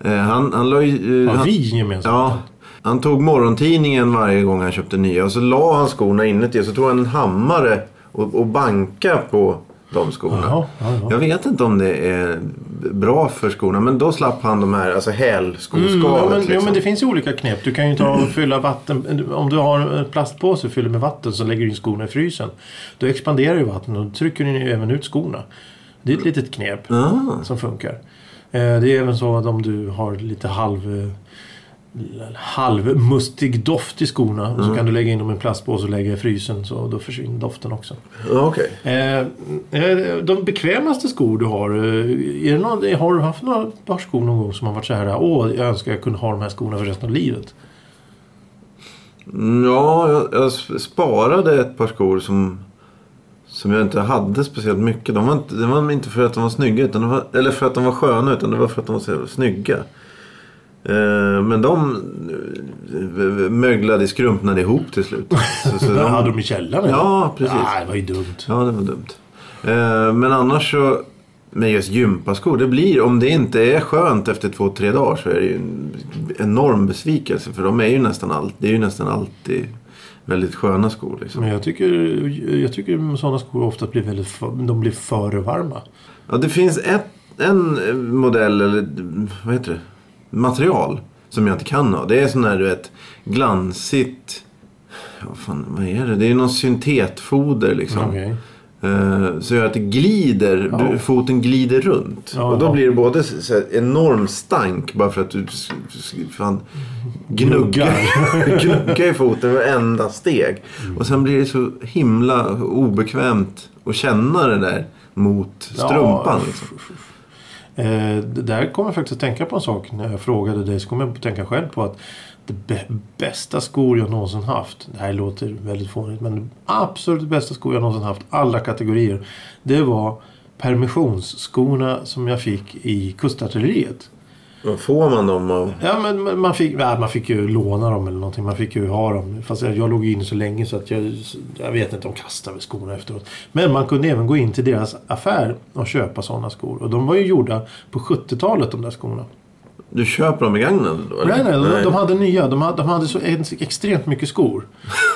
[SPEAKER 1] Eh, Han, han la ju... eh,
[SPEAKER 2] Ja,
[SPEAKER 1] han,
[SPEAKER 2] vi gemensamt.
[SPEAKER 1] ja, han tog morgontidningen varje gång han köpte nya. Och så la han skorna inuti. Och så tog han en hammare och, och bankade på de skorna.
[SPEAKER 2] Jaha, ja, ja.
[SPEAKER 1] Jag vet inte om det är bra för skorna. Men då slapp han de här alltså hälskoskavet.
[SPEAKER 2] Mm, ja, men, ja,
[SPEAKER 1] liksom.
[SPEAKER 2] men det finns ju olika knep. Du kan ju ta och fylla vatten. Om du har en plastpåse fylld med vatten så lägger du in skorna i frysen. Då expanderar ju vattnet och då trycker du ju även ut skorna. Det är ett litet knep
[SPEAKER 1] Ah.
[SPEAKER 2] som funkar. Eh, Det är även så att om du har lite halv eh, halvmustig doft i skorna
[SPEAKER 1] Mm.
[SPEAKER 2] så kan du lägga in dem i en plastpåse och lägga i frysen så då försvinner doften också.
[SPEAKER 1] Ja, Okej.
[SPEAKER 2] Eh, eh, de bekvämaste skor du har, eh, är det någon, har du haft några par skor någon gång som har varit så här åh jag önskar jag kunde ha de här skorna för resten av livet?
[SPEAKER 1] Mm, Ja, jag, jag s- sparade ett par skor som, som jag inte hade speciellt mycket. De var inte, det var inte för att de var snygga, utan de var, eller för att de var sköna, utan det var för att de var så jävla snygga. Eh, men de eh, möglade, skrumpnade ihop till slut. Så, så
[SPEAKER 2] De, hade
[SPEAKER 1] de,
[SPEAKER 2] de i källaren?
[SPEAKER 1] Ja, precis.
[SPEAKER 2] Ah, det var ju dumt.
[SPEAKER 1] ja, det var dumt. Eh, men annars så, med just gympaskor, det blir, om det inte är skönt efter två, tre dagar så är det ju en enorm besvikelse. För de är ju nästan, all, det är ju nästan alltid väldigt sköna skor. Liksom.
[SPEAKER 2] Men jag tycker, jag tycker sådana skor ofta blir väldigt för, de blir för varma.
[SPEAKER 1] Ja, det finns ett, en eh, modell, eller mm, vad heter det? Material som jag inte kan ha. Det är sån här, du vet, glansigt... Ja, fan, vad är det? Det är någon syntetfoder liksom.
[SPEAKER 2] Okej.
[SPEAKER 1] Eh, Så gör att det glider,
[SPEAKER 2] Ja.
[SPEAKER 1] du- foten glider runt.
[SPEAKER 2] Ja,
[SPEAKER 1] och då
[SPEAKER 2] ja.
[SPEAKER 1] blir det både så så här enorm stank bara för att du s- s- fan, gnuggar, gnuggar i foten varenda steg.
[SPEAKER 2] Mm.
[SPEAKER 1] Och sen blir det så himla obekvämt att känna det där mot strumpan.
[SPEAKER 2] Ja.
[SPEAKER 1] Liksom.
[SPEAKER 2] Eh, det där kommer jag faktiskt att tänka på en sak när jag frågade dig. Så kom jag att tänka själv på att det bä- bästa skor jag någonsin haft. Det här låter väldigt fånigt men det absolut bästa skor jag någonsin haft. Alla kategorier. Det var permissionsskorna som jag fick i kustartilleriet.
[SPEAKER 1] Vad får man dem av?
[SPEAKER 2] Ja, men man- man fick, nej, man fick ju låna dem eller någonting. Man fick ju ha dem. Fast jag, jag låg ju in så länge så att jag, jag vet inte. De kastade väl skorna efteråt. Men man kunde även gå in till deras affär och köpa sådana skor. Och de var ju gjorda på 70-talet de där skorna.
[SPEAKER 1] Du köper dem begagnade då? eller?
[SPEAKER 2] Nej, nej, de, de hade nya. De hade, de hade så ex- extremt mycket skor.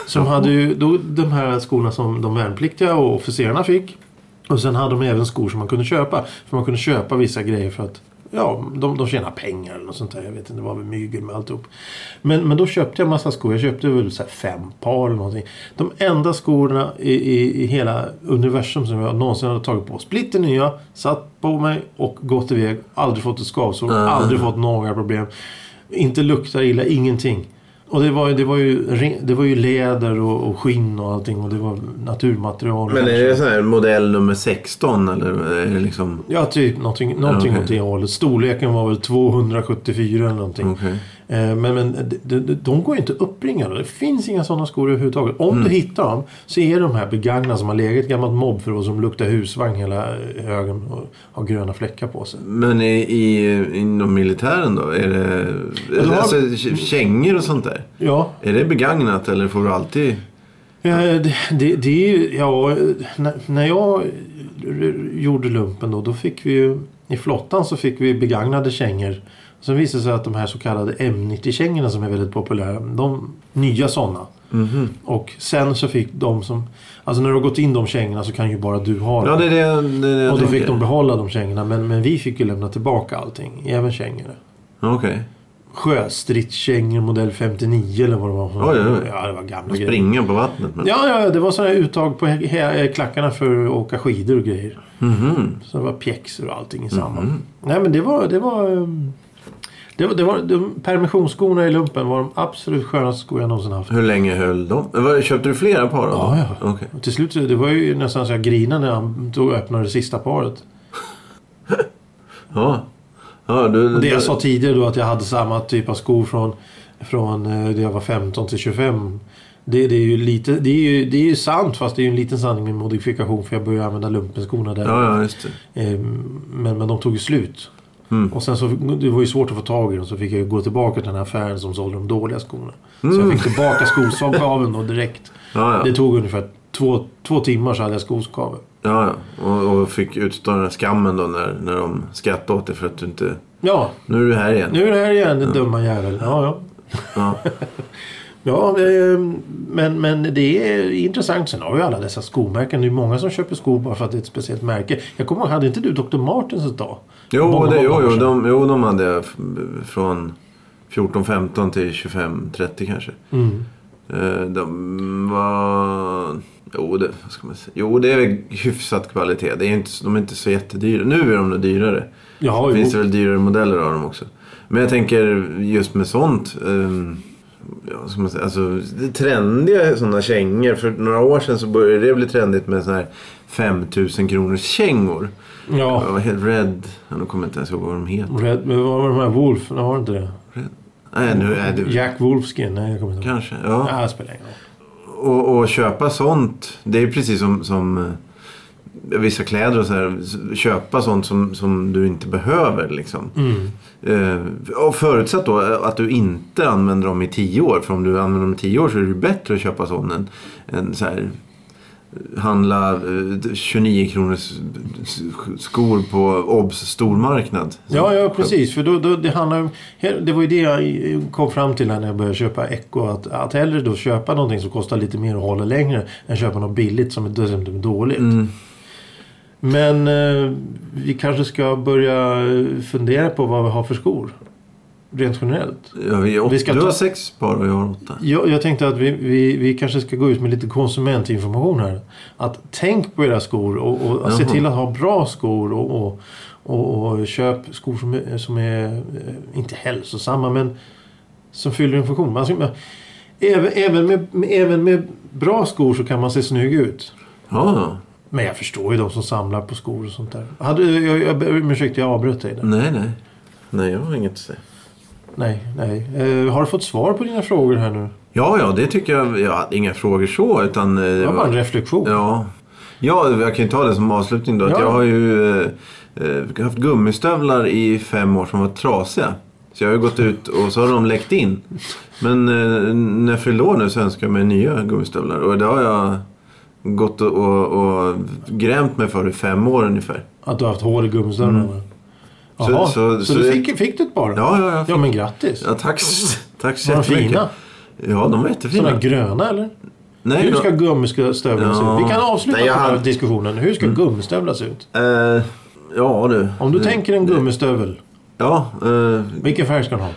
[SPEAKER 2] Som hade ju då, de här skorna som de värnpliktiga och officerarna fick. Och sen hade de även skor som man kunde köpa. För man kunde köpa vissa grejer för att ja, de, de tjänade pengar eller något sånt där. Jag vet inte, det var väl mygel med alltihop. Men, men då köpte jag massa skor. Jag köpte väl så här fem par eller någonting. De enda skorna i, i, i hela universum som jag någonsin hade tagit på. Splitter nya, satt på mig och gått iväg. Aldrig fått ett skavsår, aldrig fått några problem. Inte luktar illa, ingenting. Och det var, ju- det var, ju, re- det var ju läder och, och skinn och allting och det var naturmaterial.
[SPEAKER 1] Men är det sån här modell nummer 16 eller är det liksom...
[SPEAKER 2] Ja, typ någonting, någonting
[SPEAKER 1] Ja, okej.
[SPEAKER 2] åt det hållet. Storleken var väl 274 eller någonting.
[SPEAKER 1] Okej.
[SPEAKER 2] Eh, Men, men de, de, de går ju inte att uppbringa. Det finns inga sådana skor överhuvudtaget. Om
[SPEAKER 1] Mm.
[SPEAKER 2] du hittar dem så är de här begagnade som har legat i ett gammalt mobbförråd som luktar husvagn hela högen och har gröna fläckar på sig.
[SPEAKER 1] Men i, i, inom militären då? Är det
[SPEAKER 2] då har-
[SPEAKER 1] alltså, k- kängor och sånt där?
[SPEAKER 2] Ja,
[SPEAKER 1] Är det begagnat eller får du alltid...
[SPEAKER 2] Eh, Det, det, det är ju, ja, när, när jag gjorde lumpen då, då fick vi ju i flottan så fick vi begagnade kängor. Sen visade det sig att de här så kallade M90-kängorna som är väldigt populära, de nya sådana.
[SPEAKER 1] Mhm.
[SPEAKER 2] Och sen så fick de som, alltså när du har gått in de kängorna så kan ju bara du ha dem.
[SPEAKER 1] Ja, det är det, det, är det jag
[SPEAKER 2] och då
[SPEAKER 1] tänker.
[SPEAKER 2] fick de behålla de kängorna men, men vi fick ju lämna tillbaka allting, även kängorna.
[SPEAKER 1] Okej.
[SPEAKER 2] sjöstridskängor modell 59 eller vad det var.
[SPEAKER 1] Oj, oj, oj.
[SPEAKER 2] Ja, det var gamla
[SPEAKER 1] Och
[SPEAKER 2] grejer.
[SPEAKER 1] springa på vattnet. Men...
[SPEAKER 2] Ja, ja, det var sådana här uttag på he- he- eh, klackarna för att åka skidor och grejer.
[SPEAKER 1] Mhm.
[SPEAKER 2] Så det var pjäxor och allting i samma. Nej, men det var... Det var, ehm, det var, det var de permissionsskorna i lumpen var de absolut skönaste skor jag någonsin haft.
[SPEAKER 1] Hur länge höll de? Men vad- Köpte du flera par av dem?
[SPEAKER 2] Ja, ja.
[SPEAKER 1] Okej.
[SPEAKER 2] Och till slut det var ju nästan så jag grinade när han tog och öppnade det sista paret.
[SPEAKER 1] Ja. Ja, du,
[SPEAKER 2] Och det jag sa tidigare då att jag hade samma typ av skor från, från eh, det jag var 15 till 25. Det, det, är ju lite, det, är ju, det är ju sant fast det är ju en liten sanning med modifikation för jag började använda lumpenskorna där.
[SPEAKER 1] Ja, ja, just det.
[SPEAKER 2] Eh, Men, men de tog ju slut.
[SPEAKER 1] Mm.
[SPEAKER 2] Och sen så, det var ju svårt att få tag i dem så fick jag ju gå tillbaka till den här affären som sålde de dåliga skorna. Så jag fick tillbaka skoskaveln då direkt.
[SPEAKER 1] Mm. Ja,
[SPEAKER 2] Det
[SPEAKER 1] ja.
[SPEAKER 2] tog ungefär två, två timmar så hade jag skoskavel.
[SPEAKER 1] ja, ja. Och, och fick utstå den här skammen då när, när de skrattade åt dig för att du inte...
[SPEAKER 2] Ja,
[SPEAKER 1] Nu är du här igen.
[SPEAKER 2] nu är det här igen den dumma jäveln. Ja, ja.
[SPEAKER 1] Ja.
[SPEAKER 2] Ja, eh, men, men det är intressant. Sen har vi alla dessa skomärken. Det är många som köper skor bara för att det är ett speciellt märke. Jag kommer ihåg, hade inte du Dr. Martens ett tag?
[SPEAKER 1] Jo,
[SPEAKER 2] Många,
[SPEAKER 1] det, jo,
[SPEAKER 2] många år
[SPEAKER 1] jo,
[SPEAKER 2] sedan.
[SPEAKER 1] de, jo, de hade jag f- från 14, 15 till 25, 30 kanske.
[SPEAKER 2] Mm.
[SPEAKER 1] Eh, De var... Jo det, vad ska man säga? jo, det är väl hyfsat kvalitet. Det är inte, så- de är inte så jättedyra. Nu är de nog dyrare.
[SPEAKER 2] Jaha,
[SPEAKER 1] Det
[SPEAKER 2] jo.
[SPEAKER 1] finns det väl dyrare modeller av dem också. Men jag tänker just med sånt. ehm, ja, vad ska man säga, alltså, det är trendiga sådana kängor. För några år sedan så började det bli trendigt med sådana här 5000 kronors kängor.
[SPEAKER 2] Ja.
[SPEAKER 1] Jag var helt rädd. Ja, nu kommer jag inte ens ihåg vad de heter.
[SPEAKER 2] Red, men vad var de här Wolf? Nej, var det inte det?
[SPEAKER 1] Nej, nu är det...
[SPEAKER 2] Jack Wolfskin? Nej, jag kommer inte ihåg.
[SPEAKER 1] Kanske, ja.
[SPEAKER 2] Ja, det spelar ingen roll.
[SPEAKER 1] Och, och köpa sånt. Det är ju precis som, som eh, vissa kläder och så här. S- Köpa sånt som, som du inte behöver liksom.
[SPEAKER 2] Mm.
[SPEAKER 1] Eh, och förutsatt då eh, att du inte använder dem i tio år. För om du använder dem i tio år så är det ju bättre att köpa sån än, än så här. eh, Handla eh, 29 kronors eh, s- skor på Obs stormarknad.
[SPEAKER 2] Ja, ja, precis. För då, då, det, handlar, om- det var ju det jag i- kom fram till här när jag började köpa Echo. Att, att hellre då köpa någonting som kostar lite mer och håller längre än köpa något billigt som är dessutom är dåligt.
[SPEAKER 1] Mm.
[SPEAKER 2] Men eh, vi kanske ska börja eh, fundera på vad vi har för skor. Rent generellt.
[SPEAKER 1] Ja, vi,
[SPEAKER 2] Vi ska
[SPEAKER 1] du
[SPEAKER 2] ta-
[SPEAKER 1] har sex par och jag har åtta.
[SPEAKER 2] Jag, jag tänkte att vi, vi, vi kanske ska gå ut med lite konsumentinformation här. Att tänk på era skor och, och se
[SPEAKER 1] Jaha.
[SPEAKER 2] till att ha bra skor och, och, och, och köp skor som är, som är eh, inte hälsosamma men som fyller en funktion. Man, ska- även, även, med, med, även med bra skor så kan man se snygg ut.
[SPEAKER 1] Ja,
[SPEAKER 2] Men jag förstår ju de som samlar på skor och sånt där. Hade, jag, jag, jag, ursäkta, jag avbröt dig där.
[SPEAKER 1] nej, nej. Nej, jag har inget att säga.
[SPEAKER 2] Nej, nej. Eh, har du fått svar på dina frågor här nu?
[SPEAKER 1] Ja, ja, det tycker jag. Jag hade inga frågor så. Utan, eh,
[SPEAKER 2] Det var bara en reflektion.
[SPEAKER 1] ja. ja, jag kan ju ta det som avslutning då. Att
[SPEAKER 2] Ja.
[SPEAKER 1] jag har ju eh, eh, haft gummistövlar i fem år som var trasiga. Så jag har ju gått ut och så har de läckt in. Men eh, när jag fyllde år nu så önskar jag mig nya gummistövlar. Och det har jag gått och, och, och grämt mig för i fem år ungefär.
[SPEAKER 2] Att du har haft hål i gummistövlarna.
[SPEAKER 1] Mm. Så-
[SPEAKER 2] Jaha, så,
[SPEAKER 1] så- så
[SPEAKER 2] du
[SPEAKER 1] det-
[SPEAKER 2] fick, fick du ett par?
[SPEAKER 1] Ja, ja, ja.
[SPEAKER 2] Ja, men grattis.
[SPEAKER 1] ja tack, tack så
[SPEAKER 2] var de
[SPEAKER 1] jättemycket.
[SPEAKER 2] fina?
[SPEAKER 1] Ja, de var jättefina.
[SPEAKER 2] Sådana gröna eller?
[SPEAKER 1] Nej,
[SPEAKER 2] Hur
[SPEAKER 1] de-
[SPEAKER 2] ska gummistövlarna se
[SPEAKER 1] Ja.
[SPEAKER 2] ut? Vi kan avsluta
[SPEAKER 1] Nej, jag
[SPEAKER 2] den här
[SPEAKER 1] hade- Mm.
[SPEAKER 2] diskussionen. Hur ska gummistövlar se ut?
[SPEAKER 1] Eh, ja du.
[SPEAKER 2] Om du
[SPEAKER 1] Det-
[SPEAKER 2] tänker en gummistövel,
[SPEAKER 1] Ja. eh,
[SPEAKER 2] vilken färg ska den ha?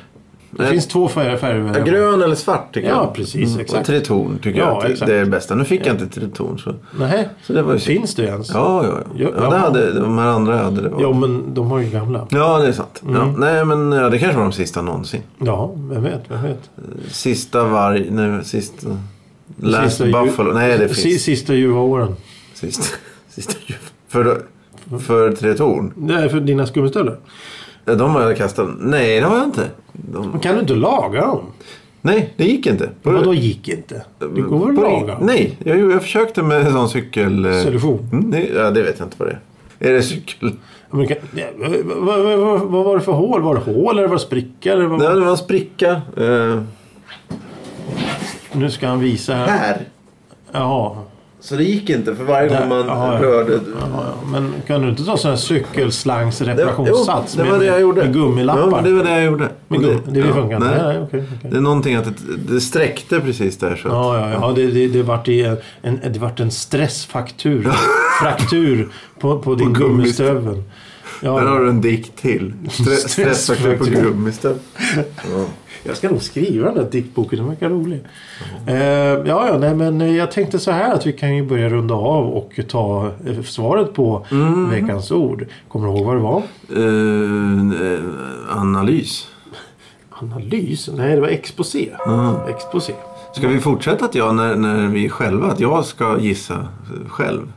[SPEAKER 2] Det
[SPEAKER 1] Nej.
[SPEAKER 2] finns två färger. färger att välja på.
[SPEAKER 1] grön eller svart tycker jag. Mm.
[SPEAKER 2] Ja, precis,
[SPEAKER 1] Och
[SPEAKER 2] exakt.
[SPEAKER 1] triton tycker
[SPEAKER 2] Ja,
[SPEAKER 1] jag att det-
[SPEAKER 2] exakt.
[SPEAKER 1] det är det bästa. Nu fick jag inte triton. Så.
[SPEAKER 2] Nej,
[SPEAKER 1] Så det var ju synd.
[SPEAKER 2] finns det ens?
[SPEAKER 1] Ja, ja, ja.
[SPEAKER 2] Ja,
[SPEAKER 1] ja det
[SPEAKER 2] ja.
[SPEAKER 1] hade, de här andra hade det. Var.
[SPEAKER 2] Ja, Mm. men de har ju gamla.
[SPEAKER 1] Ja, det är sant. Ja, nej, men ja, det kanske var de sista någonsin.
[SPEAKER 2] Ja, vem vet, vem vet.
[SPEAKER 1] Sista varg... Nej, sista... Last
[SPEAKER 2] Sista ju-
[SPEAKER 1] Buffalo. Nej, det
[SPEAKER 2] Si-
[SPEAKER 1] finns.
[SPEAKER 2] Sista ljuva åren.
[SPEAKER 1] Sista, sista ju- för, för Tretorn?
[SPEAKER 2] Nej, för dina gummistövlar.
[SPEAKER 1] Eh, De har jag kastat. Nej, det har jag inte. De,
[SPEAKER 2] Kan du inte laga dem?
[SPEAKER 1] nej, det gick inte. På-
[SPEAKER 2] Vadå gick inte? Det går väl
[SPEAKER 1] På-
[SPEAKER 2] att laga?
[SPEAKER 1] Nej, jag, jag försökte med en sån cykel... eh,
[SPEAKER 2] Solution.
[SPEAKER 1] Mm, det, ja, det vet jag inte vad det är. Är det cykel?
[SPEAKER 2] Ja, men kan, ja, vad, vad, vad, vad var det för hål? Var det hål eller var det spricka? Eller
[SPEAKER 1] Nej,
[SPEAKER 2] vad,
[SPEAKER 1] det var en spricka. Eh,
[SPEAKER 2] nu ska han visa här.
[SPEAKER 1] här.
[SPEAKER 2] Jaha.
[SPEAKER 1] Så det gick inte för varje gång man
[SPEAKER 2] Ja, ja.
[SPEAKER 1] rörde...
[SPEAKER 2] Ja, ja. Men kan du inte ta sån här
[SPEAKER 1] Det var, jo,
[SPEAKER 2] cykelslangsreparationssats
[SPEAKER 1] det var
[SPEAKER 2] med,
[SPEAKER 1] det jag gjorde.
[SPEAKER 2] med gummilappar?
[SPEAKER 1] Ja, men det var det jag gjorde.
[SPEAKER 2] Med
[SPEAKER 1] Och
[SPEAKER 2] gum... Det,
[SPEAKER 1] ja,
[SPEAKER 2] funkar inte?
[SPEAKER 1] nej.
[SPEAKER 2] Nej, nej, okej. okej.
[SPEAKER 1] Det är någonting att det, det sträckte precis där. Så att,
[SPEAKER 2] Ja, ja, ja. Det, det, det vart i en, en, det vart en stressfaktur. Fraktur på, på din
[SPEAKER 1] gummistövel.
[SPEAKER 2] gummistövel.
[SPEAKER 1] Där har
[SPEAKER 2] Ja.
[SPEAKER 1] du en dikt till. Stre-
[SPEAKER 2] Stress-
[SPEAKER 1] Stressfaktor på
[SPEAKER 2] faktor.
[SPEAKER 1] gummistövel. Ja.
[SPEAKER 2] Jag ska nog skriva den där diktboken. Den verkar rolig. Eh, ja, ja, nej, men eh, jag tänkte så här att vi kan ju börja runda av och ta eh, svaret på
[SPEAKER 1] Mm.
[SPEAKER 2] veckans ord. Kommer du ihåg vad det var?
[SPEAKER 1] Eh, eh, analys.
[SPEAKER 2] Analys? Nej, det var exposé.
[SPEAKER 1] Mm.
[SPEAKER 2] Exposé.
[SPEAKER 1] Ska vi fortsätta att jag, när, när vi är själva, att jag ska gissa själv?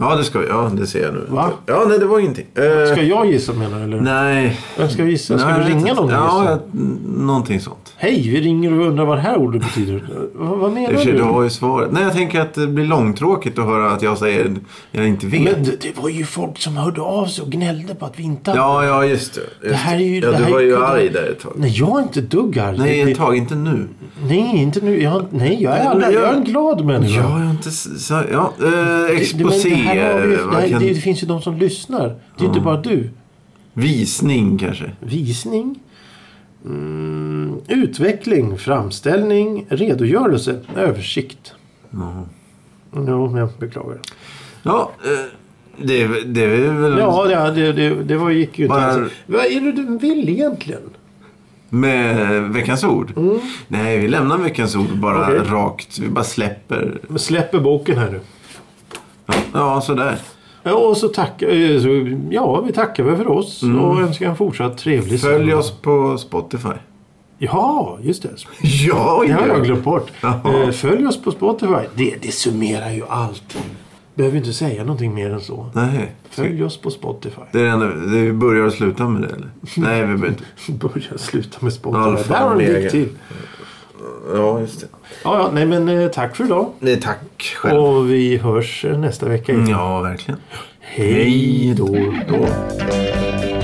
[SPEAKER 1] Ja, det ska vi. Ja, det ser jag nu.
[SPEAKER 2] Va?
[SPEAKER 1] Ja, nej, det var ingenting. Eh,
[SPEAKER 2] Ska jag gissa menar du? Eller?
[SPEAKER 1] Nej.
[SPEAKER 2] Vem ska gissa? Ska
[SPEAKER 1] Nej, jag
[SPEAKER 2] du
[SPEAKER 1] vet
[SPEAKER 2] ringa
[SPEAKER 1] inte.
[SPEAKER 2] någon? och
[SPEAKER 1] Ja,
[SPEAKER 2] gissa?
[SPEAKER 1] jag, någonting sånt.
[SPEAKER 2] Hej, vi ringer och undrar vad det här ordet betyder. vad, vad menar
[SPEAKER 1] I och för sig,
[SPEAKER 2] du?
[SPEAKER 1] du har ju svaret. Nej, jag tänker att det blir långtråkigt att höra att jag säger jag inte vet.
[SPEAKER 2] Men det, det var ju folk som hörde av sig och gnällde på att vi inte...
[SPEAKER 1] Ja, ja, just det. Just det
[SPEAKER 2] här är ju-
[SPEAKER 1] ja,
[SPEAKER 2] det
[SPEAKER 1] du
[SPEAKER 2] här
[SPEAKER 1] var
[SPEAKER 2] är-
[SPEAKER 1] ju arg där ett tag.
[SPEAKER 2] Nej, jag är inte ett dugg arg.
[SPEAKER 1] Nej,
[SPEAKER 2] Det-
[SPEAKER 1] ett tag. Inte nu.
[SPEAKER 2] Nej, inte nu. Jag, nej, jag är,
[SPEAKER 1] Nej,
[SPEAKER 2] aldrig,
[SPEAKER 1] jag-
[SPEAKER 2] jag är en glad människa.
[SPEAKER 1] Ja, jag har inte... s- sa- Ja, eh,
[SPEAKER 2] Det- men
[SPEAKER 1] exposé. eh,
[SPEAKER 2] det, här har vi, ju-
[SPEAKER 1] vad
[SPEAKER 2] det, här,
[SPEAKER 1] kan- Mm.
[SPEAKER 2] det, det finns ju de som lyssnar. Det är ju inte bara du.
[SPEAKER 1] Visning kanske.
[SPEAKER 2] Visning. Mm, utveckling, framställning, redogörelse, översikt. Jo, men jag beklagar.
[SPEAKER 1] Ja, eh, det, är- det är väl
[SPEAKER 2] Ja, det, det, det, det var, gick ju inte
[SPEAKER 1] Bara-
[SPEAKER 2] alls. Vad är det du vill egentligen?
[SPEAKER 1] med veckans ord. Nej, vi lämnar veckans ord bara
[SPEAKER 2] Mm. Okej.
[SPEAKER 1] rakt. Vi bara släpper.
[SPEAKER 2] Men Släpper boken här nu.
[SPEAKER 1] Ja, sådär.
[SPEAKER 2] Ja, Och så tack, eh, så, ja, vi tackar väl för oss och önskar en fortsatt trevlig
[SPEAKER 1] Mm. Följ
[SPEAKER 2] sommar.
[SPEAKER 1] oss på Spotify.
[SPEAKER 2] Ja, just det.
[SPEAKER 1] Ja,
[SPEAKER 2] Det har
[SPEAKER 1] ja.
[SPEAKER 2] jag glömt bort.
[SPEAKER 1] Jaha.
[SPEAKER 2] Eh, Följ oss på Spotify. Det, det summerar ju allt. Behöver inte säga någonting mer än så.
[SPEAKER 1] Nej.
[SPEAKER 2] Följ oss på Spotify.
[SPEAKER 1] Det är det enda, det vi börjar och slutar med det eller? Nej, vi behöver inte.
[SPEAKER 2] Börja sluta med Spotify.
[SPEAKER 1] Alfa
[SPEAKER 2] Där har du en
[SPEAKER 1] Omega.
[SPEAKER 2] dikt till.
[SPEAKER 1] Ja, just det.
[SPEAKER 2] Ja, ja, nej men eh, tack för idag.
[SPEAKER 1] Nej, tack själv. Mm.
[SPEAKER 2] Och vi hörs eh, nästa vecka igen.
[SPEAKER 1] Ja, verkligen.
[SPEAKER 2] Hej då.
[SPEAKER 1] Då.